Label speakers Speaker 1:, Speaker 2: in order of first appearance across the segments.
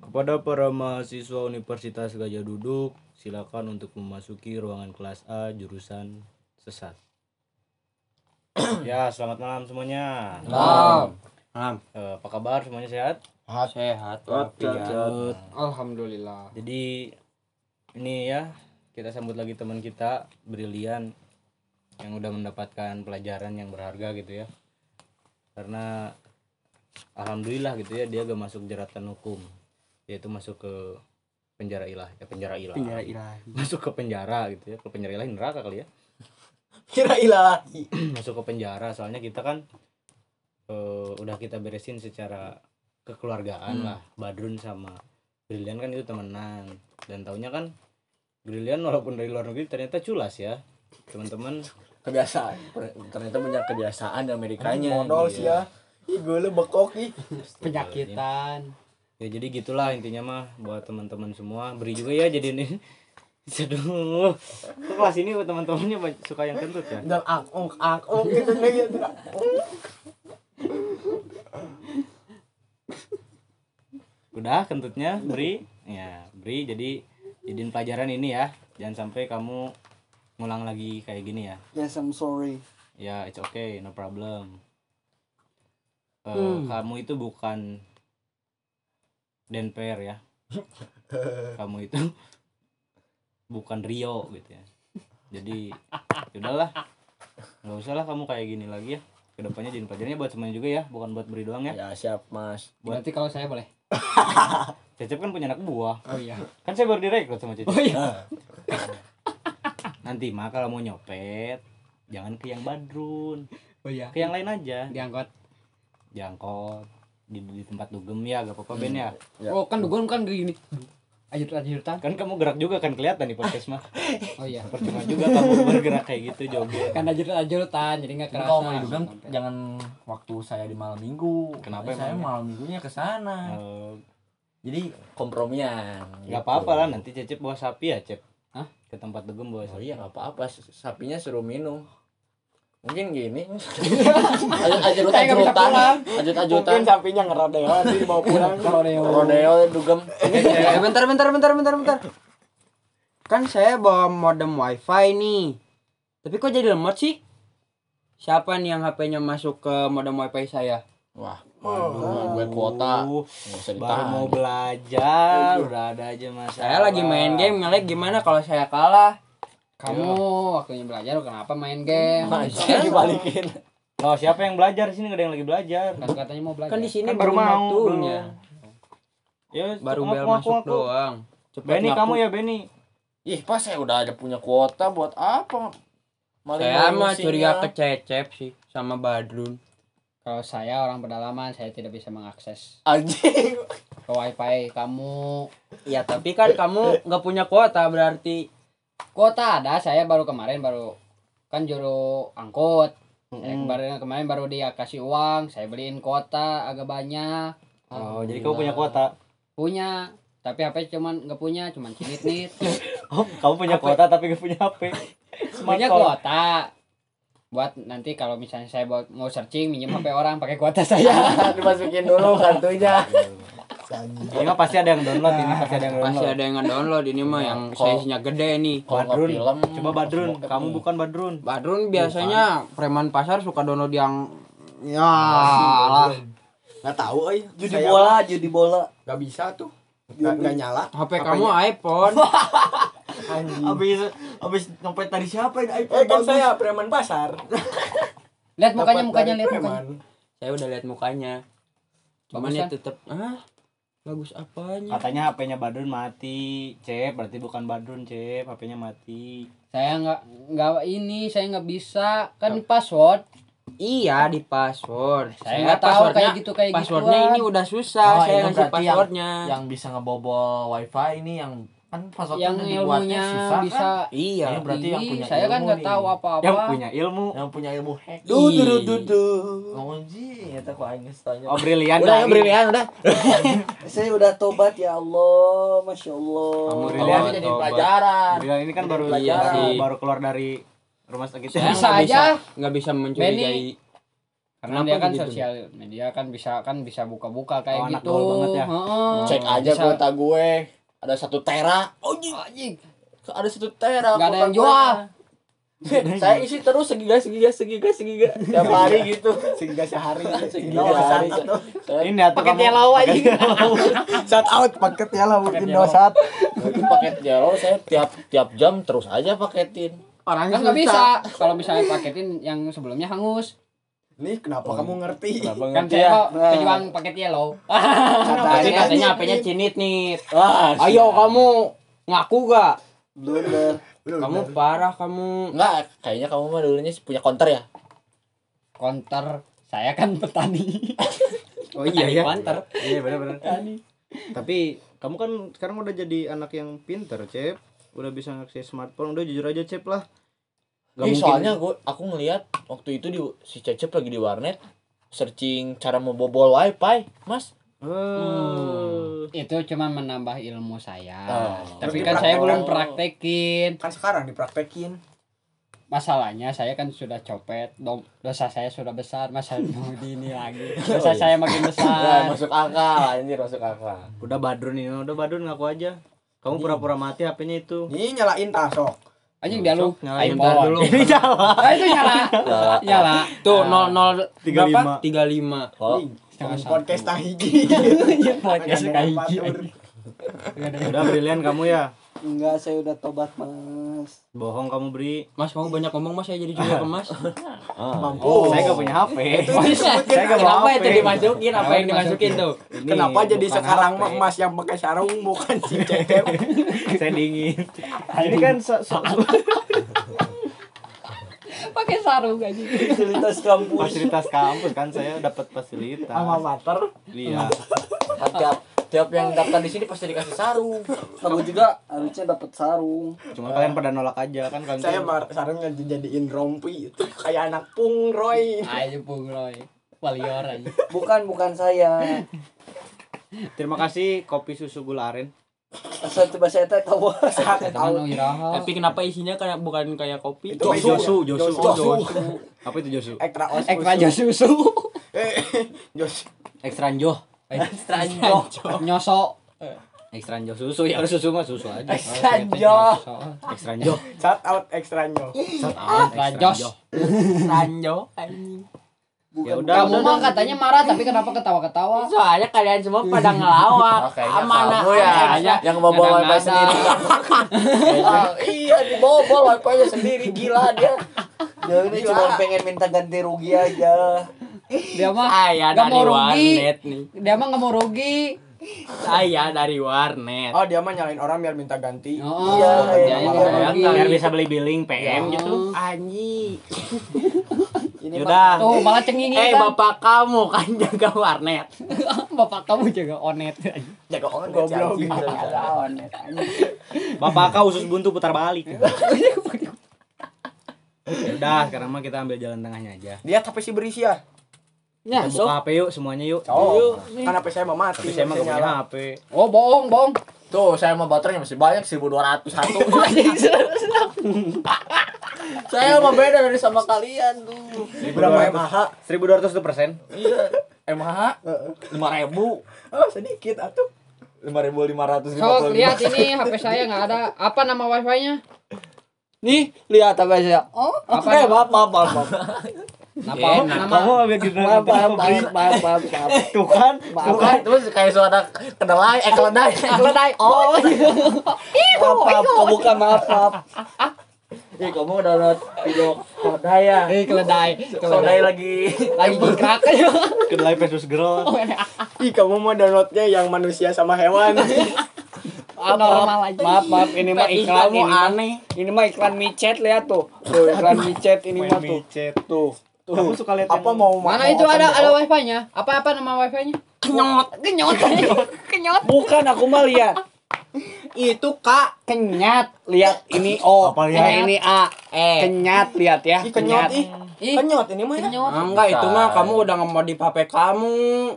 Speaker 1: Kepada para mahasiswa Universitas Gajah Duduk, silakan untuk memasuki ruangan kelas A jurusan sesat. ya, selamat malam semuanya.
Speaker 2: Malam.
Speaker 3: Malam.
Speaker 1: Eh, apa kabar semuanya sehat?
Speaker 2: Sehat walafiat.
Speaker 3: Sehat.
Speaker 4: Alhamdulillah.
Speaker 1: Jadi ini ya kita sambut lagi teman kita Brilian yang udah mendapatkan pelajaran yang berharga gitu ya. Karena alhamdulillah gitu ya dia gak masuk jeratan hukum. Yaitu masuk ke penjara ilah, ya penjara ilah.
Speaker 3: Penjara ilahi.
Speaker 1: Masuk ke penjara gitu ya. Ke penjara ilah neraka kali ya.
Speaker 2: Kira ilahi.
Speaker 1: Masuk ke penjara soalnya kita kan eh, udah kita beresin secara kekeluargaan
Speaker 2: Hmm.
Speaker 1: lah. Badrun sama Brilian kan itu temenan dan taunya kan Brilian walaupun dari luar negeri ternyata culas ya teman-teman
Speaker 2: Kebiasaan. Per- Ternyata punya kebiasaan di Amerikanya.
Speaker 4: Modal
Speaker 2: Iya.
Speaker 4: sih ya.
Speaker 2: Ih, gue lu bekok ih.
Speaker 4: Penyakitan.
Speaker 1: ya jadi gitulah intinya mah buat teman-teman semua beri juga ya jadi ini Aduh, kok kelas ini teman-temannya ba- suka yang kentut ya.
Speaker 2: Dan angong angong gitu lagi.
Speaker 1: Udah kentutnya beri, ya beri jadi jadiin pelajaran ini ya. Jangan sampai kamu ngulang lagi kayak gini ya.
Speaker 4: Yes, I'm sorry.
Speaker 1: Ya, it's okay, no problem. Eh, Kamu itu bukan Denper ya. kamu itu bukan Rio gitu ya. Jadi, ya udahlah. Nggak usah lah kamu kayak gini lagi ya. Kedepannya jadi pelajarannya buat semuanya juga ya, bukan buat beri doang ya.
Speaker 2: Ya siap mas.
Speaker 4: Berarti kalau saya boleh.
Speaker 1: Cecep kan punya anak buah.
Speaker 4: Oh iya. Oh
Speaker 1: Kan saya baru direkrut sama Cecep.
Speaker 2: Nah,
Speaker 1: Nanti mah kalau mau nyopet, jangan ke yang Badrun.
Speaker 4: Oh iya.
Speaker 1: Ke yang lain aja.
Speaker 4: Diangkut.
Speaker 1: Jangkot di, di tempat dugem ya, gak apa-apa Ben ya.
Speaker 3: Hmm.
Speaker 2: Ya.
Speaker 4: Oh kan dugaan kan gini. Lanjut lanjut tan.
Speaker 1: kan kamu gerak juga kan kelihatan di podcast mah
Speaker 4: Oh iya.
Speaker 1: percuma juga kamu bergerak kayak gitu joget
Speaker 4: Kan lanjut lanjut tan. Jadi nggak kerasa.
Speaker 5: Kalau mau didugan jangan waktu saya di malam minggu.
Speaker 1: Kenapa
Speaker 5: Soalnya saya
Speaker 1: emangnya?
Speaker 5: malam minggunya ke sana.
Speaker 1: Eh,
Speaker 5: Jadi
Speaker 2: Kompromian.
Speaker 1: nggak
Speaker 2: gitu.
Speaker 1: apa-apa lah nanti cecep bawa sapi ya cep
Speaker 4: Hah?
Speaker 1: ke tempat dugem bawa
Speaker 2: Oh
Speaker 1: sapi
Speaker 2: iya nggak apa-apa. S- Sapinya suruh minum. Mungkin gini. ajut ajut
Speaker 4: Saya nggak bisa
Speaker 2: ajutan.
Speaker 4: pulang.
Speaker 2: Ajut ajutan.
Speaker 5: sapinya ngerodeoan jadi bawa pulang.
Speaker 2: Rodeo dugem.
Speaker 4: Iya,
Speaker 3: Eh, bentar, bentar, bentar, bentar, bentar. Kan saya bawa modem wifi nih. Tapi kok jadi lemot sih? Siapa nih yang HP-nya masuk ke modem wifi saya?
Speaker 2: Wah, waduh, gue kuota.
Speaker 1: Uh,
Speaker 2: Nggak usah
Speaker 1: baru
Speaker 2: ditahan.
Speaker 1: mau belajar udah ada aja mas
Speaker 3: Saya lagi main game, ngelag gimana kalau saya kalah?
Speaker 4: Kamu waktunya belajar kenapa main game?
Speaker 2: Masih dibalikin.
Speaker 1: loh siapa yang belajar di sini nggak ada yang lagi belajar
Speaker 4: Kan katanya mau belajar.
Speaker 3: Kan di sini
Speaker 1: Kan baru
Speaker 3: belum
Speaker 1: mau,
Speaker 3: waktunya.
Speaker 1: ya
Speaker 3: Baru
Speaker 1: ngaku,
Speaker 3: bel
Speaker 1: ngaku,
Speaker 3: masuk
Speaker 1: ngaku.
Speaker 3: doang. Cepet
Speaker 1: Benny
Speaker 3: ngaku.
Speaker 1: kamu ya Benny
Speaker 2: Ih, pas saya udah ada punya kuota buat apa? ya.
Speaker 3: Saya mah
Speaker 2: sinyal.
Speaker 3: curiga kececep sih sama Badrun.
Speaker 4: Kalau saya orang pedalaman saya tidak bisa mengakses
Speaker 2: Anjing.
Speaker 4: ke wifi kamu.
Speaker 3: Ya tapi kan kamu nggak punya kuota berarti.
Speaker 4: Kota ada saya baru kemarin baru kan juru angkut. Saya kemarin kemarin baru dia kasih uang, saya beliin kuota agak banyak.
Speaker 3: Ah,
Speaker 1: oh jadi
Speaker 3: iya.
Speaker 1: kamu punya kuota
Speaker 4: Punya, tapi HP cuman nggak punya, cuman sedikit.
Speaker 1: oh kamu punya kuota tapi nggak punya hp
Speaker 4: punya
Speaker 1: call.
Speaker 4: kuota buat nanti kalau misalnya saya buat mau searching minjem HP orang pakai kuota saya.
Speaker 2: dimasukin dulu kartunya
Speaker 1: ini mah pasti ada yang download ini pasti ada yang
Speaker 3: Pasti
Speaker 1: download
Speaker 3: ada yang ngedownload ini mah yang
Speaker 2: Kok-
Speaker 3: size-nya gede nih.
Speaker 1: Badrun coba Badrun kamu
Speaker 3: Hmm.
Speaker 1: bukan Badrun
Speaker 3: Badrun biasanya preman pasar suka download yang kan. ya lah
Speaker 6: Nggak tahu euy.
Speaker 5: Judi bola, judi bola.
Speaker 6: Gak bisa tuh. Gak, nyala.
Speaker 3: HP kamu iPhone
Speaker 5: Habis habis nyopet tadi siapa ini
Speaker 6: Eh
Speaker 5: iPhone
Speaker 6: kan
Speaker 5: bagus?
Speaker 6: saya preman pasar.
Speaker 4: lihat mukanya
Speaker 6: Dapat
Speaker 4: mukanya
Speaker 6: dari
Speaker 4: lihat mukanya.
Speaker 6: preman.
Speaker 3: saya udah lihat mukanya cuman
Speaker 4: Bagus
Speaker 3: ya
Speaker 4: kan?
Speaker 3: tetep ah bagus apanya
Speaker 1: Katanya HP-nya Badrun mati, Cep. Berarti bukan Badrun, Cep. HP-nya mati.
Speaker 4: Saya nggak nggak ini saya nggak bisa kan password.
Speaker 3: iya di password
Speaker 4: Saya nggak tahu kayak gitu kayak gitu.
Speaker 3: passwordnya ini udah susah
Speaker 5: Oh,
Speaker 3: saya
Speaker 5: ini
Speaker 3: ngasih
Speaker 5: berarti yang-
Speaker 3: passwordnya
Speaker 5: Yang bisa ngebobol wifi ini yang kan passwordnya
Speaker 4: yang
Speaker 5: dibuatnya
Speaker 4: ilmunya
Speaker 5: susah
Speaker 4: bisa
Speaker 5: kan?
Speaker 3: iya
Speaker 5: Ini berarti yang
Speaker 4: Ih,
Speaker 5: punya
Speaker 4: saya kan
Speaker 5: ilmu
Speaker 4: nggak
Speaker 5: nih.
Speaker 4: tahu apa-apa.
Speaker 1: Yang punya ilmu.
Speaker 5: kan? Yang punya ilmu hack.
Speaker 3: Du, du, du, du,
Speaker 5: Ngomongji, eta kok aing geus tanya.
Speaker 1: Oh, brilian.
Speaker 3: udah ya
Speaker 1: Dai.
Speaker 3: brilian udah
Speaker 6: Saya udah tobat ya Allah, masya Allah.
Speaker 3: Kamu
Speaker 5: Kalau
Speaker 1: Brilian.
Speaker 5: ini jadi
Speaker 3: Tobat.
Speaker 5: pelajaran.
Speaker 1: Brilian ini kan baru
Speaker 3: Iya
Speaker 1: baru,
Speaker 3: sih.
Speaker 1: baru keluar dari rumah sakit. ya.
Speaker 4: Bisa
Speaker 3: Nggak
Speaker 4: aja.
Speaker 3: nggak bisa mencurigai
Speaker 4: karena
Speaker 3: Kenapa
Speaker 4: dia kan
Speaker 3: begitu?
Speaker 4: sosial media kan bisa kan bisa buka-buka
Speaker 1: Oh,
Speaker 4: kayak
Speaker 1: anak
Speaker 4: gitu.
Speaker 1: gaul banget ya.
Speaker 3: Oh,
Speaker 4: Heeh.
Speaker 2: Cek aja
Speaker 4: Bisa-
Speaker 2: kuota gue. Ada satu tera. Oh,
Speaker 4: Anjing,
Speaker 2: ada satu tera.
Speaker 4: nggak ada
Speaker 2: kuota
Speaker 4: yang
Speaker 2: gue.
Speaker 4: jual.
Speaker 2: Saya isi terus segiga segiga segiga segiga tiap hari gitu.
Speaker 5: Sehingga sehari.
Speaker 2: Segiga
Speaker 5: Gila,
Speaker 2: sehari.
Speaker 5: satu.
Speaker 2: Saya
Speaker 1: Ini atau kamu
Speaker 5: Shout out paketnya lah mungkin
Speaker 4: Paket yellow.
Speaker 5: dosat.
Speaker 2: Mungkin paket jalo saya tiap tiap jam terus aja paketin.
Speaker 3: Orang
Speaker 4: Kan nggak bisa. Kalau misalnya paketin yang sebelumnya hangus.
Speaker 5: Nih kenapa kamu ngerti?
Speaker 2: Kenapa
Speaker 4: Kan
Speaker 2: ngerti
Speaker 4: saya
Speaker 2: ya?
Speaker 4: kok pejuang paket yellow.
Speaker 3: Katanya,
Speaker 5: Katanya
Speaker 3: katanya
Speaker 5: nih.
Speaker 3: HP-nya cinit nih.
Speaker 2: Wah,
Speaker 4: Nah.
Speaker 3: Ayo kamu ngaku gak?
Speaker 5: Blunder.
Speaker 3: Kamu parah kamu.
Speaker 2: Enggak, kayaknya kamu mah dulunya punya counter ya?
Speaker 4: Konter saya kan petani.
Speaker 3: Oh iya ya.
Speaker 4: Konter.
Speaker 1: Iya benar-benar. Tapi kamu kan sekarang udah jadi anak yang pinter, Cep. Udah bisa ngakses smartphone, udah jujur aja, Cep lah. Gak
Speaker 5: Iya,
Speaker 2: Ih,
Speaker 1: mungkin.
Speaker 2: soalnya gua aku ngelihat waktu itu di si Cecep lagi di warnet searching cara membobol wifi, Mas.
Speaker 1: Hmm.
Speaker 4: Itu cuma menambah ilmu saya.
Speaker 2: Oh.
Speaker 4: Tapi
Speaker 5: Berarti
Speaker 4: kan saya
Speaker 5: praktek.
Speaker 4: belum praktekin.
Speaker 5: Kan sekarang dipraktekin.
Speaker 4: Masalahnya saya kan sudah copet. Dom- Dosa saya sudah besar. Masa mau di ini lagi.
Speaker 6: Oh, iya.
Speaker 4: Dosa saya makin
Speaker 2: Ya,
Speaker 4: besar.
Speaker 2: masuk akal, anjir masuk akal.
Speaker 1: Udah badrun ini, udah badrun ngaku aja.
Speaker 5: Iya.
Speaker 1: Kamu pura-pura mati HP-nya itu.
Speaker 5: Ini nyalain tasok.
Speaker 4: Anjing dia lu
Speaker 1: Sok, nyalain
Speaker 4: iPhone.
Speaker 1: bentar dulu.
Speaker 4: Ah, itu nyala.
Speaker 2: Ya.
Speaker 4: nyala.
Speaker 3: Tuh
Speaker 6: Nah.
Speaker 4: Ah.
Speaker 3: 00 berapa?
Speaker 1: 35.
Speaker 3: 35.
Speaker 2: Oh,
Speaker 5: Ih,
Speaker 4: Setengah satu.
Speaker 5: podcast tahiji.
Speaker 2: Iya,
Speaker 3: Iya,
Speaker 4: Podcast kayak hiji.
Speaker 3: gitu.
Speaker 1: Udah brilian kamu ya.
Speaker 6: Enggak, saya udah tobat, Mas.
Speaker 1: Bohong kamu beri.
Speaker 3: Mas kamu banyak ngomong Mas saya jadi juga ke Mas.
Speaker 2: ah.
Speaker 5: Oh.
Speaker 1: Saya gak punya HP.
Speaker 5: disebutin
Speaker 1: Saya gak mau
Speaker 3: Kenapa
Speaker 1: HP.
Speaker 2: eh.
Speaker 3: itu dimasukin? Apa yang dimasukin tuh?
Speaker 1: Ini
Speaker 5: ya Kenapa jadi
Speaker 1: bukan
Speaker 5: sekarang
Speaker 1: HP.
Speaker 5: mah emas yang pakai sarung bukan si cecep?
Speaker 1: Saya dingin. Ini kan so- so-
Speaker 4: Pakai sarung anjing.
Speaker 6: Fasilitas kampus.
Speaker 1: fasilitas kampus kan saya dapat fasilitas.
Speaker 5: Sama mater.
Speaker 1: Iya.
Speaker 2: Kan tiap tiap yang daftar di sini pasti dikasih sarung.
Speaker 6: Kamu juga harusnya dapat sarung.
Speaker 1: Cuma kalian pada nolak aja kan kalian.
Speaker 5: Saya
Speaker 1: tuh-
Speaker 5: mar- sarungnya dijadiin rompi itu kayak anak pungroy.
Speaker 4: Ayo Bung Roy. Walior anjing.
Speaker 6: Bukan, bukan saya.
Speaker 1: Terima kasih kopi susu gula aren.
Speaker 6: Asal tiba saya teh tahu.
Speaker 4: Teman Wiraha.
Speaker 3: Tapi kenapa isinya kayak bukan kayak kopi?
Speaker 5: Itu
Speaker 1: Josu, Josu, Josu,
Speaker 5: Josu.
Speaker 1: Josu. Apa itu Josu?
Speaker 5: Ekstra os.
Speaker 4: Ek raja susu.
Speaker 5: Jos.
Speaker 1: Ekstra Joh.
Speaker 4: Stranjo. Nyoso.
Speaker 1: Ekstra Joh susu ya udah susu mah susu aja.
Speaker 2: Kan,
Speaker 6: Ya.
Speaker 5: Sanjo.
Speaker 1: Ekstra Ah, Joh.
Speaker 5: Shout out ekstra nyo.
Speaker 4: Rajos.
Speaker 3: Sanjo anjing.
Speaker 1: Ya udah
Speaker 4: Kamu
Speaker 1: udah.
Speaker 4: mah katanya marah tapi kenapa ketawa-ketawa?
Speaker 3: Soalnya kalian semua pada ngelawak.
Speaker 2: Oh, kayaknya
Speaker 3: Amanah.
Speaker 2: kamu ya
Speaker 4: kayaknya
Speaker 2: yang membobol
Speaker 4: kadang-kadang.
Speaker 2: wifi sendiri. Ah, iya, dibobol wifi-nya sendiri gila dia.
Speaker 6: Ya ini cuma pengen minta ganti rugi aja.
Speaker 4: Dia mah
Speaker 3: Saya
Speaker 4: Nggak
Speaker 3: Ah, ya, dari
Speaker 4: mau rugi.
Speaker 3: warnet nih.
Speaker 4: dia mah nggak mau rugi.
Speaker 3: Saya dari warnet.
Speaker 5: Oh dia mah nyalain orang biar minta ganti.
Speaker 4: Oh,
Speaker 6: Iya,
Speaker 4: dia
Speaker 5: iya.
Speaker 4: ini
Speaker 5: Biar
Speaker 4: rugi.
Speaker 1: Biar bisa beli billing PM
Speaker 4: Ya.
Speaker 1: gitu.
Speaker 3: Anji.
Speaker 5: Ini
Speaker 1: Yaudah.
Speaker 4: Tuh Oh, malah cengingi
Speaker 3: Eh
Speaker 4: kan.
Speaker 3: bapak kamu kan jaga warnet.
Speaker 4: Bapak kamu jaga onet.
Speaker 5: jaga on goblok.
Speaker 1: Bapak kau usus buntu putar balik. Ya udah, sekarang mah kita ambil jalan tengahnya aja.
Speaker 5: Dia tapi si berisi ya.
Speaker 4: Ya,
Speaker 1: Kita buka HP yuk semuanya yuk.
Speaker 5: Oh. Kan HP saya mau mati.
Speaker 1: Tapi saya mah gak
Speaker 5: nggak bisa
Speaker 1: punya
Speaker 5: nyala.
Speaker 1: HP.
Speaker 4: Oh, bohong, bohong.
Speaker 2: Tuh, saya mah baterainya masih banyak 1201. saya mah beda dari sama kalian tuh.
Speaker 5: Berapa MAH?
Speaker 1: 1200 persen.
Speaker 2: MH 5000.
Speaker 5: Oh sedikit atuh.
Speaker 2: 5500
Speaker 4: Sok, lihat ini HP saya nggak ada. Apa nama wifi-nya?
Speaker 6: Nih, lihat apa saya. Oh,
Speaker 4: Apa
Speaker 6: eh,
Speaker 4: nama-
Speaker 6: maaf, maaf, maaf. maaf.
Speaker 4: Napa? Nama
Speaker 1: Kamu ambil gitu.
Speaker 6: Maaf, maaf, maaf, maaf, maaf, maaf.
Speaker 1: Tuh kan,
Speaker 6: Maaf,
Speaker 2: Bukan, terus kayak suara kedelai, eh keledai, eh keledai. Oh,
Speaker 6: maaf, maaf, kebuka, maaf, maaf.
Speaker 2: Ih, kamu download video Kodaya.
Speaker 4: eh keledai,
Speaker 2: Kodaya lagi.
Speaker 4: Lagi jingkrak.
Speaker 1: kedai versus girl.
Speaker 5: Ih kamu mau downloadnya yang manusia sama hewan.
Speaker 4: Normal aja.
Speaker 6: Maaf, maaf, ini mah iklan ini. mah- Ini mah iklan micet lihat tuh. Tuh, iklan micet ini mah tuh.
Speaker 1: micet.
Speaker 6: Tuh.
Speaker 1: Iya Aku suka lihat
Speaker 5: Apa mau
Speaker 4: Mana itu ada ada wifi-nya? Apa apa nama wifi-nya? Kenyot, kenyot, kenyot,
Speaker 6: Bukan aku mah lihat.
Speaker 3: Itu kak
Speaker 6: Kenyat, lihat ini O.
Speaker 1: Apa lihat?
Speaker 6: eh, ini A.
Speaker 3: E.
Speaker 6: Kenyat lihat ya.
Speaker 5: Ih kenyot ih.
Speaker 4: Ih,
Speaker 5: Kenyot ini mah ya.
Speaker 4: kenyot.
Speaker 3: Ah, enggak itu mah kamu udah ngemodif HP kamu.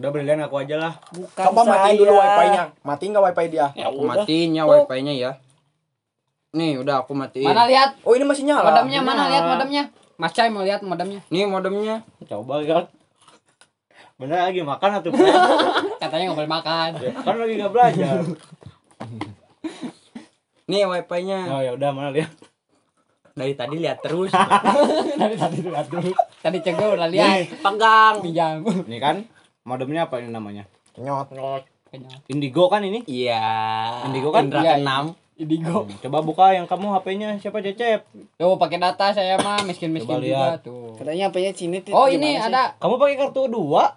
Speaker 1: Udah brilian aku aja lah.
Speaker 6: Bukan
Speaker 5: Coba matiin ya. dulu
Speaker 6: saya.
Speaker 5: wifi-nya. Mati nggak wifi dia?
Speaker 3: Aku matiin ya
Speaker 6: Oh.
Speaker 3: wifi-nya ya. Nih udah aku matiin.
Speaker 4: Mana lihat
Speaker 5: Oh ini masih nyala.
Speaker 4: modemnya? Mana lihat modemnya? Mas Cai mau lihat modemnya?
Speaker 3: Nih modemnya.
Speaker 1: Coba kan. bener lagi makan atau Pren?
Speaker 4: Katanya nggak boleh makan.
Speaker 1: Ya, kan lagi gak belajar
Speaker 3: Nih wifi-nya
Speaker 1: oh ya udah mana lihat
Speaker 3: dari tadi lihat terus.
Speaker 4: Tadi tadi lihat dulu. Tadi cenggo udah lihat.
Speaker 3: Pegang.
Speaker 4: Pinjam.
Speaker 1: ini kan modemnya apa ini namanya
Speaker 2: Nyot.
Speaker 1: indigo kan ini
Speaker 3: Iya.
Speaker 1: Indigo kan?
Speaker 3: Indra
Speaker 4: Iya,
Speaker 3: keenam.
Speaker 4: Indigo.
Speaker 1: Hmm, coba buka yang kamu HP-nya siapa cecep
Speaker 4: Tuh pakai data saya mah miskin-miskin
Speaker 1: Coba
Speaker 4: juga
Speaker 1: lihat.
Speaker 4: tuh.
Speaker 6: Katanya apanya Cine
Speaker 4: Oh ini ada.
Speaker 1: kamu pakai kartu dua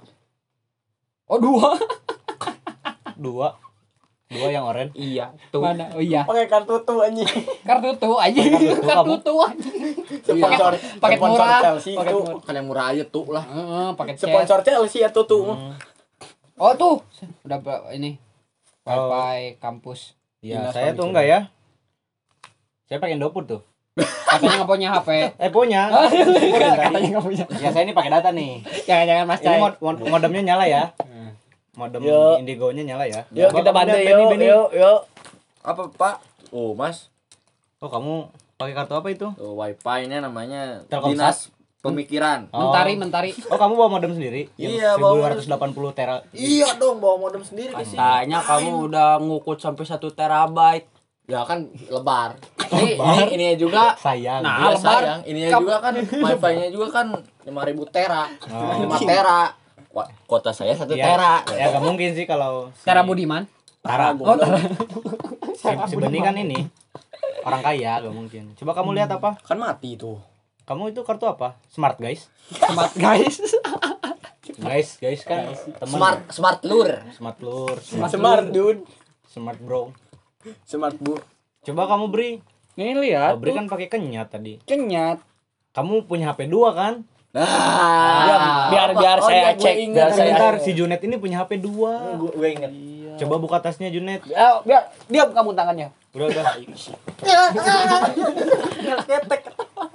Speaker 4: Oh dua.
Speaker 1: dua dua yang oranye
Speaker 3: Iya, tuh.
Speaker 4: Mana? Oh iya.
Speaker 5: Pakai kartu tuh anjing.
Speaker 4: Kartu tuh aja. Kartu tuh aja.
Speaker 2: Sponsor
Speaker 4: Paket
Speaker 2: sponsor
Speaker 4: murah.
Speaker 2: Chelsea
Speaker 4: Paket
Speaker 2: itu
Speaker 4: murah.
Speaker 2: kan yang murah aja tuh lah.
Speaker 4: Heeh, pakai chat.
Speaker 2: Sponsor Chelsea atau tuh.
Speaker 1: Iya. Hmm.
Speaker 4: Oh tuh. Udah ber- ini. Wifi kampus.
Speaker 1: ya
Speaker 4: Dinas
Speaker 1: saya
Speaker 4: Pendidikan.
Speaker 1: tuh enggak ya saya pakai Indofood tuh
Speaker 4: Katanya nggak punya Oh, HP.
Speaker 1: eh punya
Speaker 4: Katanya nggak punya.
Speaker 1: ya saya ini pakai data nih
Speaker 4: iya, Jangan-jangan Mas
Speaker 1: ini
Speaker 4: Cai.
Speaker 1: mod- mod- modemnya nyala ya modem
Speaker 2: Yo.
Speaker 1: indigonya nyala ya Coba
Speaker 2: Yuk kita
Speaker 1: kamu
Speaker 2: bantu
Speaker 1: lihat, Benny,
Speaker 2: yuk
Speaker 1: Benny.
Speaker 2: yuk yuk.
Speaker 3: Apa, Pak?
Speaker 2: Oh Mas,
Speaker 1: oh kamu pakai kartu apa itu
Speaker 2: tuh, wifi nya namanya
Speaker 1: Telkomsel.
Speaker 2: Dinas Pemikiran.
Speaker 1: Oh.
Speaker 4: Mentari, mentari.
Speaker 1: Oh kamu bawa modem sendiri?
Speaker 2: Iya, bawa modem.
Speaker 1: 1280 tera.
Speaker 2: Iya dong bawa modem sendiri ke sini.
Speaker 3: Tanya kamu
Speaker 2: Eh,
Speaker 3: udah ngukut sampai 1 terabyte.
Speaker 2: Ya kan lebar. Ini ini ininya juga
Speaker 1: Sayang.
Speaker 2: Nah,
Speaker 4: lebar.
Speaker 2: sayang. Ininya juga kan wifi-nya juga kan 5000 tera.
Speaker 1: Oh.
Speaker 2: 5 tera. Wa- Kota saya 1
Speaker 1: Ya,
Speaker 2: tera.
Speaker 1: Ya nggak mungkin sih kalau si-
Speaker 4: Cara Budiman.
Speaker 1: Tara.
Speaker 2: goblok.
Speaker 1: Si, si Beni kan ini orang kaya nggak mungkin. Coba kamu lihat apa?
Speaker 2: Kan mati itu.
Speaker 1: Kamu itu kartu apa? Smart guys.
Speaker 4: Smart guys.
Speaker 1: Guys, guys kan teman.
Speaker 2: Smart smart lur.
Speaker 1: Smart lur, smart,
Speaker 6: Smart dude.
Speaker 1: smart bro.
Speaker 2: Smart bu.
Speaker 1: Coba kamu beri.
Speaker 6: Nih
Speaker 1: Kalau
Speaker 6: lihat.
Speaker 1: beri kan pakai kenyat tadi.
Speaker 6: Kenyat.
Speaker 1: Kamu punya HP dua kan?
Speaker 5: Iya.
Speaker 2: Nah,
Speaker 6: biar- biar
Speaker 2: Oh,
Speaker 6: saya
Speaker 2: iya, gue
Speaker 6: cek,
Speaker 2: ingat.
Speaker 6: biar
Speaker 1: Bentar,
Speaker 6: saya-
Speaker 1: bentar, si Junet ini punya HP dua.
Speaker 2: Gue gue ingat.
Speaker 1: Coba buka tasnya Junet.
Speaker 6: Eh, biar diam kamu tangannya.
Speaker 1: Udah udah.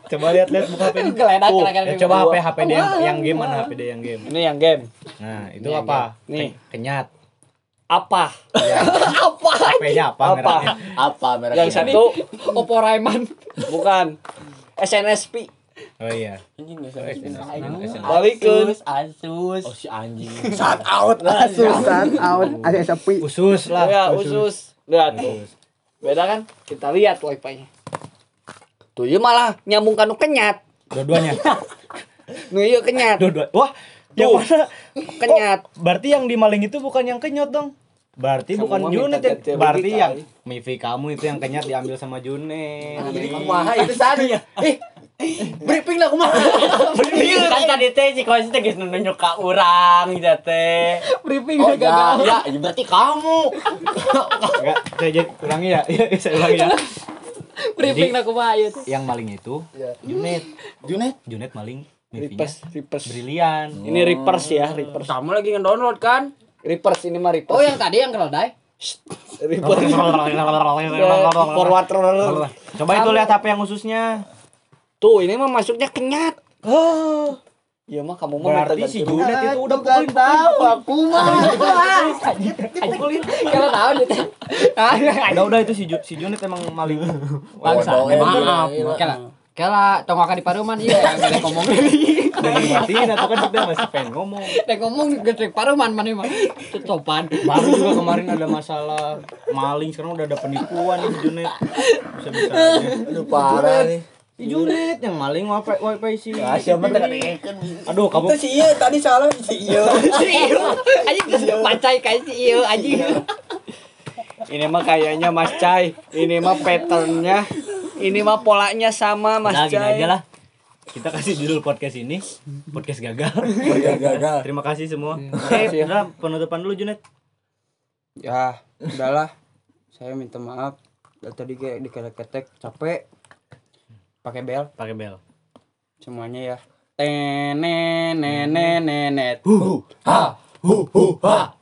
Speaker 1: coba lihat lihat buka HP ini.
Speaker 4: Geledak,
Speaker 6: Oh,
Speaker 1: Tuh,
Speaker 4: geledak,
Speaker 1: ya,
Speaker 4: geledak.
Speaker 1: coba HP HP dia yang, yang game mana HP dia yang game.
Speaker 6: Ini yang game.
Speaker 1: Nah, itu
Speaker 2: Iya,
Speaker 1: apa?
Speaker 6: Nih.
Speaker 1: Ken- Kenyat.
Speaker 6: Apa?
Speaker 1: HP-nya apa
Speaker 6: Apa?
Speaker 1: merahnya?
Speaker 2: Apa merek
Speaker 6: Yang
Speaker 2: ini?
Speaker 6: satu
Speaker 4: Oppo Raiman.
Speaker 6: bukan SNSD.
Speaker 1: Oh iya.
Speaker 2: anjing nggak salah.
Speaker 6: Balikun.
Speaker 2: Oh si anjing. Shout out.
Speaker 6: Susan out ada sepi.
Speaker 1: Usus lah.
Speaker 6: Ya, usus. Lihat. tuh.
Speaker 1: Usus.
Speaker 6: Beda kan? Kita lihat wifi-nya. Tuh, ieu malah nyambung kanu kenyat.
Speaker 1: Dua-duanya.
Speaker 6: Nu ieu kenyat,
Speaker 1: Dua-dua. Wah, yang mana? Oh,
Speaker 6: kenyat.
Speaker 1: Berarti yang dimaling itu bukan yang kenyot dong. Berarti
Speaker 6: Semua
Speaker 1: bukan
Speaker 6: minta
Speaker 1: Junet ya.
Speaker 6: ganti rugi,
Speaker 1: Berarti
Speaker 6: Kak.
Speaker 1: yang Mivi kamu itu yang kenyat diambil sama Junet.
Speaker 2: Jadi kumaha itu tadi ya? Eh, briefing lah kumaha.
Speaker 3: Kan tadi teh si Kois teh geus nunjuk ka urang gitu teh.
Speaker 4: Briefing
Speaker 2: Oh,
Speaker 4: gagal.
Speaker 2: ya, ya, ya, berarti kamu.
Speaker 1: Enggak, saya jadi ulangi ya. Iya, saya ulangi ya.
Speaker 4: Briefing iya aku bayut.
Speaker 1: Yang maling itu
Speaker 6: Iya.
Speaker 1: Junet.
Speaker 2: Junet.
Speaker 1: Junet maling Mivinya
Speaker 6: Reverse, reverse.
Speaker 1: brilian.
Speaker 6: Ini reverse ya, reverse.
Speaker 3: Sama lagi ngedownload kan?
Speaker 6: Reverse ini mah
Speaker 4: Oh
Speaker 6: reverse.
Speaker 4: yang tadi yang keledai.
Speaker 6: reverse. Iya, Forward roller.
Speaker 1: Coba itu lihat HP yang ususnya.
Speaker 6: Tuh, ini mah masuknya kenyat. Iya mah kamu mah
Speaker 1: Oh. Berarti
Speaker 6: minta
Speaker 1: si
Speaker 6: ganti rugi.
Speaker 1: Junet itu udah pukulin
Speaker 4: Kalau tahu dia. teh. Ah,
Speaker 1: Udah udah itu si Ju- si Junet emang maling.
Speaker 2: Bangsa.
Speaker 4: Maaf. Kela. Kela tonggak di paruman iya. Dek ngomong.
Speaker 1: Udah dimatiin atau kan kita masih pengen ngomong.
Speaker 4: Dek ngomong gedrek paruman mana mah. Tutupan.
Speaker 1: Baru juga kemarin ada masalah maling sekarang udah ada penipuan nih si Junet. Bisa bisa.
Speaker 2: Aduh parah nih.
Speaker 1: Si Junet yang maling wifi wifi Ya, si.
Speaker 2: Ah, siapa tadi?
Speaker 1: Aduh kamu
Speaker 2: Itu si iya tadi salah si iya.
Speaker 4: Anjing pacai kayak si ieu anjing.
Speaker 1: Iya.
Speaker 6: Ini mah kayaknya Mas Cai. Ini mah patternnya. Ini mah polanya sama Mas
Speaker 1: Udah gini
Speaker 6: Cai.
Speaker 1: aja lah. Kita kasih judul podcast ini podcast gagal.
Speaker 2: Gagal.
Speaker 1: Terima kasih semua. Eh, udah penutupan dulu Junet.
Speaker 3: Ya, udahlah. Saya minta maaf. Dari tadi kayak diketek-ketek capek. Pakai bel
Speaker 1: Pakai bel.
Speaker 3: semuanya ya. Tenenenenenet.
Speaker 2: Ha, hu, hu, ha.